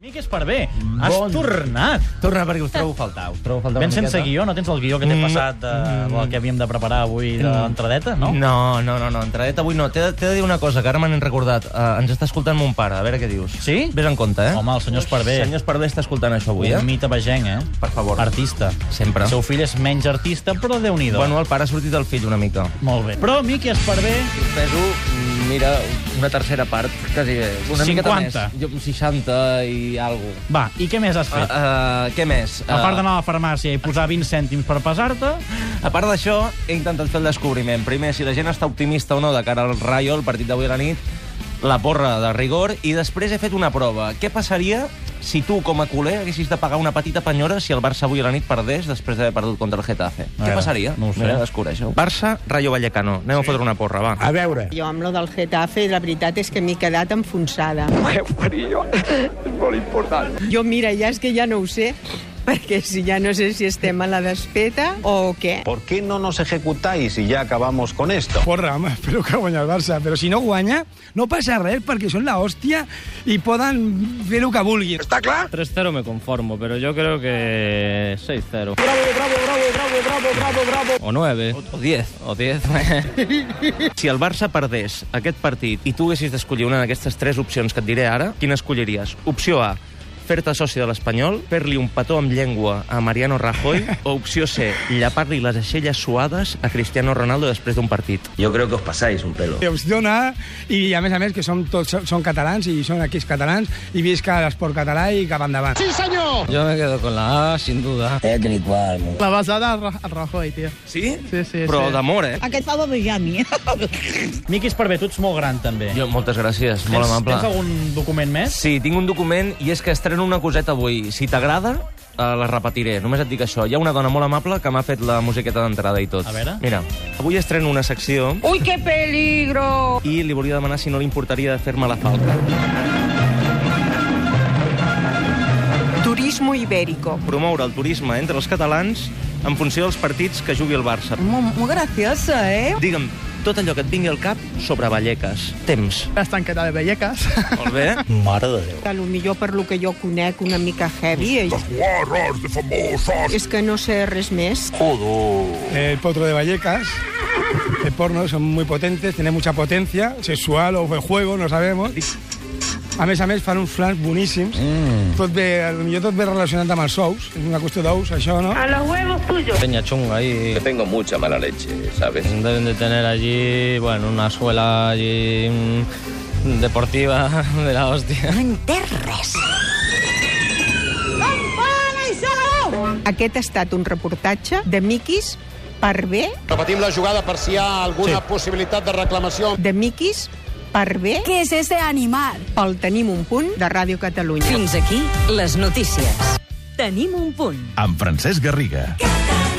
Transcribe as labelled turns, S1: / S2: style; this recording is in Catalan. S1: Miques per bé, has
S2: Bon.
S1: tornat.
S2: Torna perquè us trobo a faltar, us trobo a faltar
S1: Ben
S2: una
S1: sense
S2: miqueta.
S1: guió, no tens el guió que t'he
S2: Mm, Mm.
S1: passat de, del que havíem de preparar avui de l'entradeta, no?
S2: No, no, no, no, entradeta avui no. T'he de, t'he de dir una cosa, que ara me n'he recordat. Uh, ens està escoltant mon pare, a veure què dius.
S1: Sí?
S2: Ves en compte, eh?
S1: Home, el senyor Esparvé.
S2: Senyor Esparvé està escoltant això avui, eh?
S1: Un mite vegenc, eh?
S2: Per favor.
S1: Artista.
S2: Sempre.
S1: El seu fill és menys artista, però déu nhi
S2: Bueno, el pare ha sortit del fill una mica.
S1: Molt bé. Però Miques per bé...
S3: peso, mira, una tercera part, quasi bé. Una
S1: 50.
S3: miqueta més. Jo, 60 i algo. Eh,
S1: Va, i què més has
S2: Uh,
S1: fet?
S2: uh, què més?
S1: A part d'anar a la farmàcia i posar 20 cèntims per pesar-te...
S2: A part d'això, he intentat fer el descobriment. Primer, si la gent està optimista o no de cara al Rayo, el partit d'avui a la nit, la porra de rigor, i després he fet una prova. Què passaria si tu, com a culer, haguessis de pagar una petita penyora si el Barça avui a la nit perdés després d'haver perdut contra el Getafe?
S1: A
S2: Què
S1: veure,
S2: passaria?
S1: no ho sé.
S2: Mira, descobreixo. Barça, Rayo Vallecano. Anem sí. a fotre una porra, va.
S4: A veure.
S5: Jo amb lo del Getafe, la veritat és que m'he quedat enfonsada.
S6: È un periglio, è molto importante.
S5: Jo, mira, ja és que ja no ho sé, perquè si ja no sé si estem a la desfeta o què.
S7: ¿Por qué no nos ejecutáis y ya acabamos con esto?
S4: Porra, home, espero que guanyi el Barça. Però si no guanya, no passa res, perquè són la hòstia i poden fer el que vulguin.
S8: 3-0 me conformo, pero yo creo que 6-0. Bravo, bravo, bravo, bravo, bravo, bravo, bravo. O 9.
S2: O 10.
S8: O 10.
S2: Si el Barça perdés aquest partit i tu haguessis d'escollir una d'aquestes tres opcions que et diré ara, quina escolliries? Opció A, fer-te soci de l'Espanyol, fer-li un petó amb llengua a Mariano Rajoy, o opció C, llapar-li les aixelles suades a Cristiano Ronaldo després d'un partit.
S9: Yo creo que os pasáis un pelo.
S4: Us dona, i a més a més que som tots són catalans i són aquells catalans i visca l'esport català i cap endavant. Sí.
S8: yo me quedo con la A, sin duda.
S10: La basada al, Ra- al Rajoy, tío.
S2: Sí?
S10: Sí, sí,
S2: Però
S10: sí.
S2: d'amor, eh?
S5: Aquest fa babejar a mi.
S1: Miques per bé, tu ets molt gran, també.
S2: Jo, moltes gràcies,
S1: tens,
S2: molt amable.
S1: Tens algun document més?
S2: Sí, tinc un document i és que estreno una coseta avui. Si t'agrada, eh, la repetiré. Només et dic això. Hi ha una dona molt amable que m'ha fet la musiqueta d'entrada i tot.
S1: A veure.
S2: Mira, avui estreno una secció
S5: Ui, que peligro!
S2: i li volia demanar si no li importaria de fer-me la falta.
S5: Turismo ibérico.
S2: Promoure el turisme entre els catalans en funció dels partits que jugui el Barça.
S5: Molt, molt graciosa, eh?
S2: Digue'm, tot allò que et vingui al cap sobre Vallecas. Temps.
S10: La estanqueta de Vallecas.
S2: Molt bé.
S5: Que lo millor per lo que jo conec una mica heavy és... És que no sé res més.
S4: El potro de Vallecas, el porno, son muy potentes, tienen mucha potencia, sexual o de juego, no sabemos. A més a més, fan uns flans boníssims. Mm. Tot ve, potser tot ve relacionat amb els ous. És una qüestió d'ous, això, no?
S8: Peña chunga ahí.
S9: Que tengo mucha mala leche, ¿sabes?
S8: Deben de tener allí, bueno, una suela allí mm, deportiva de la hostia.
S5: Aquest ha estat un reportatge de miquis per bé,
S7: Repetim la jugada per si hi ha alguna sí. possibilitat de reclamació.
S5: de miquis per bé,
S11: ¿Qué es este animal?
S5: pel Tenim un punt de Ràdio Catalunya.
S11: Fins aquí les notícies. Tenim un punt.
S7: Amb Francesc Garriga.
S11: Tenim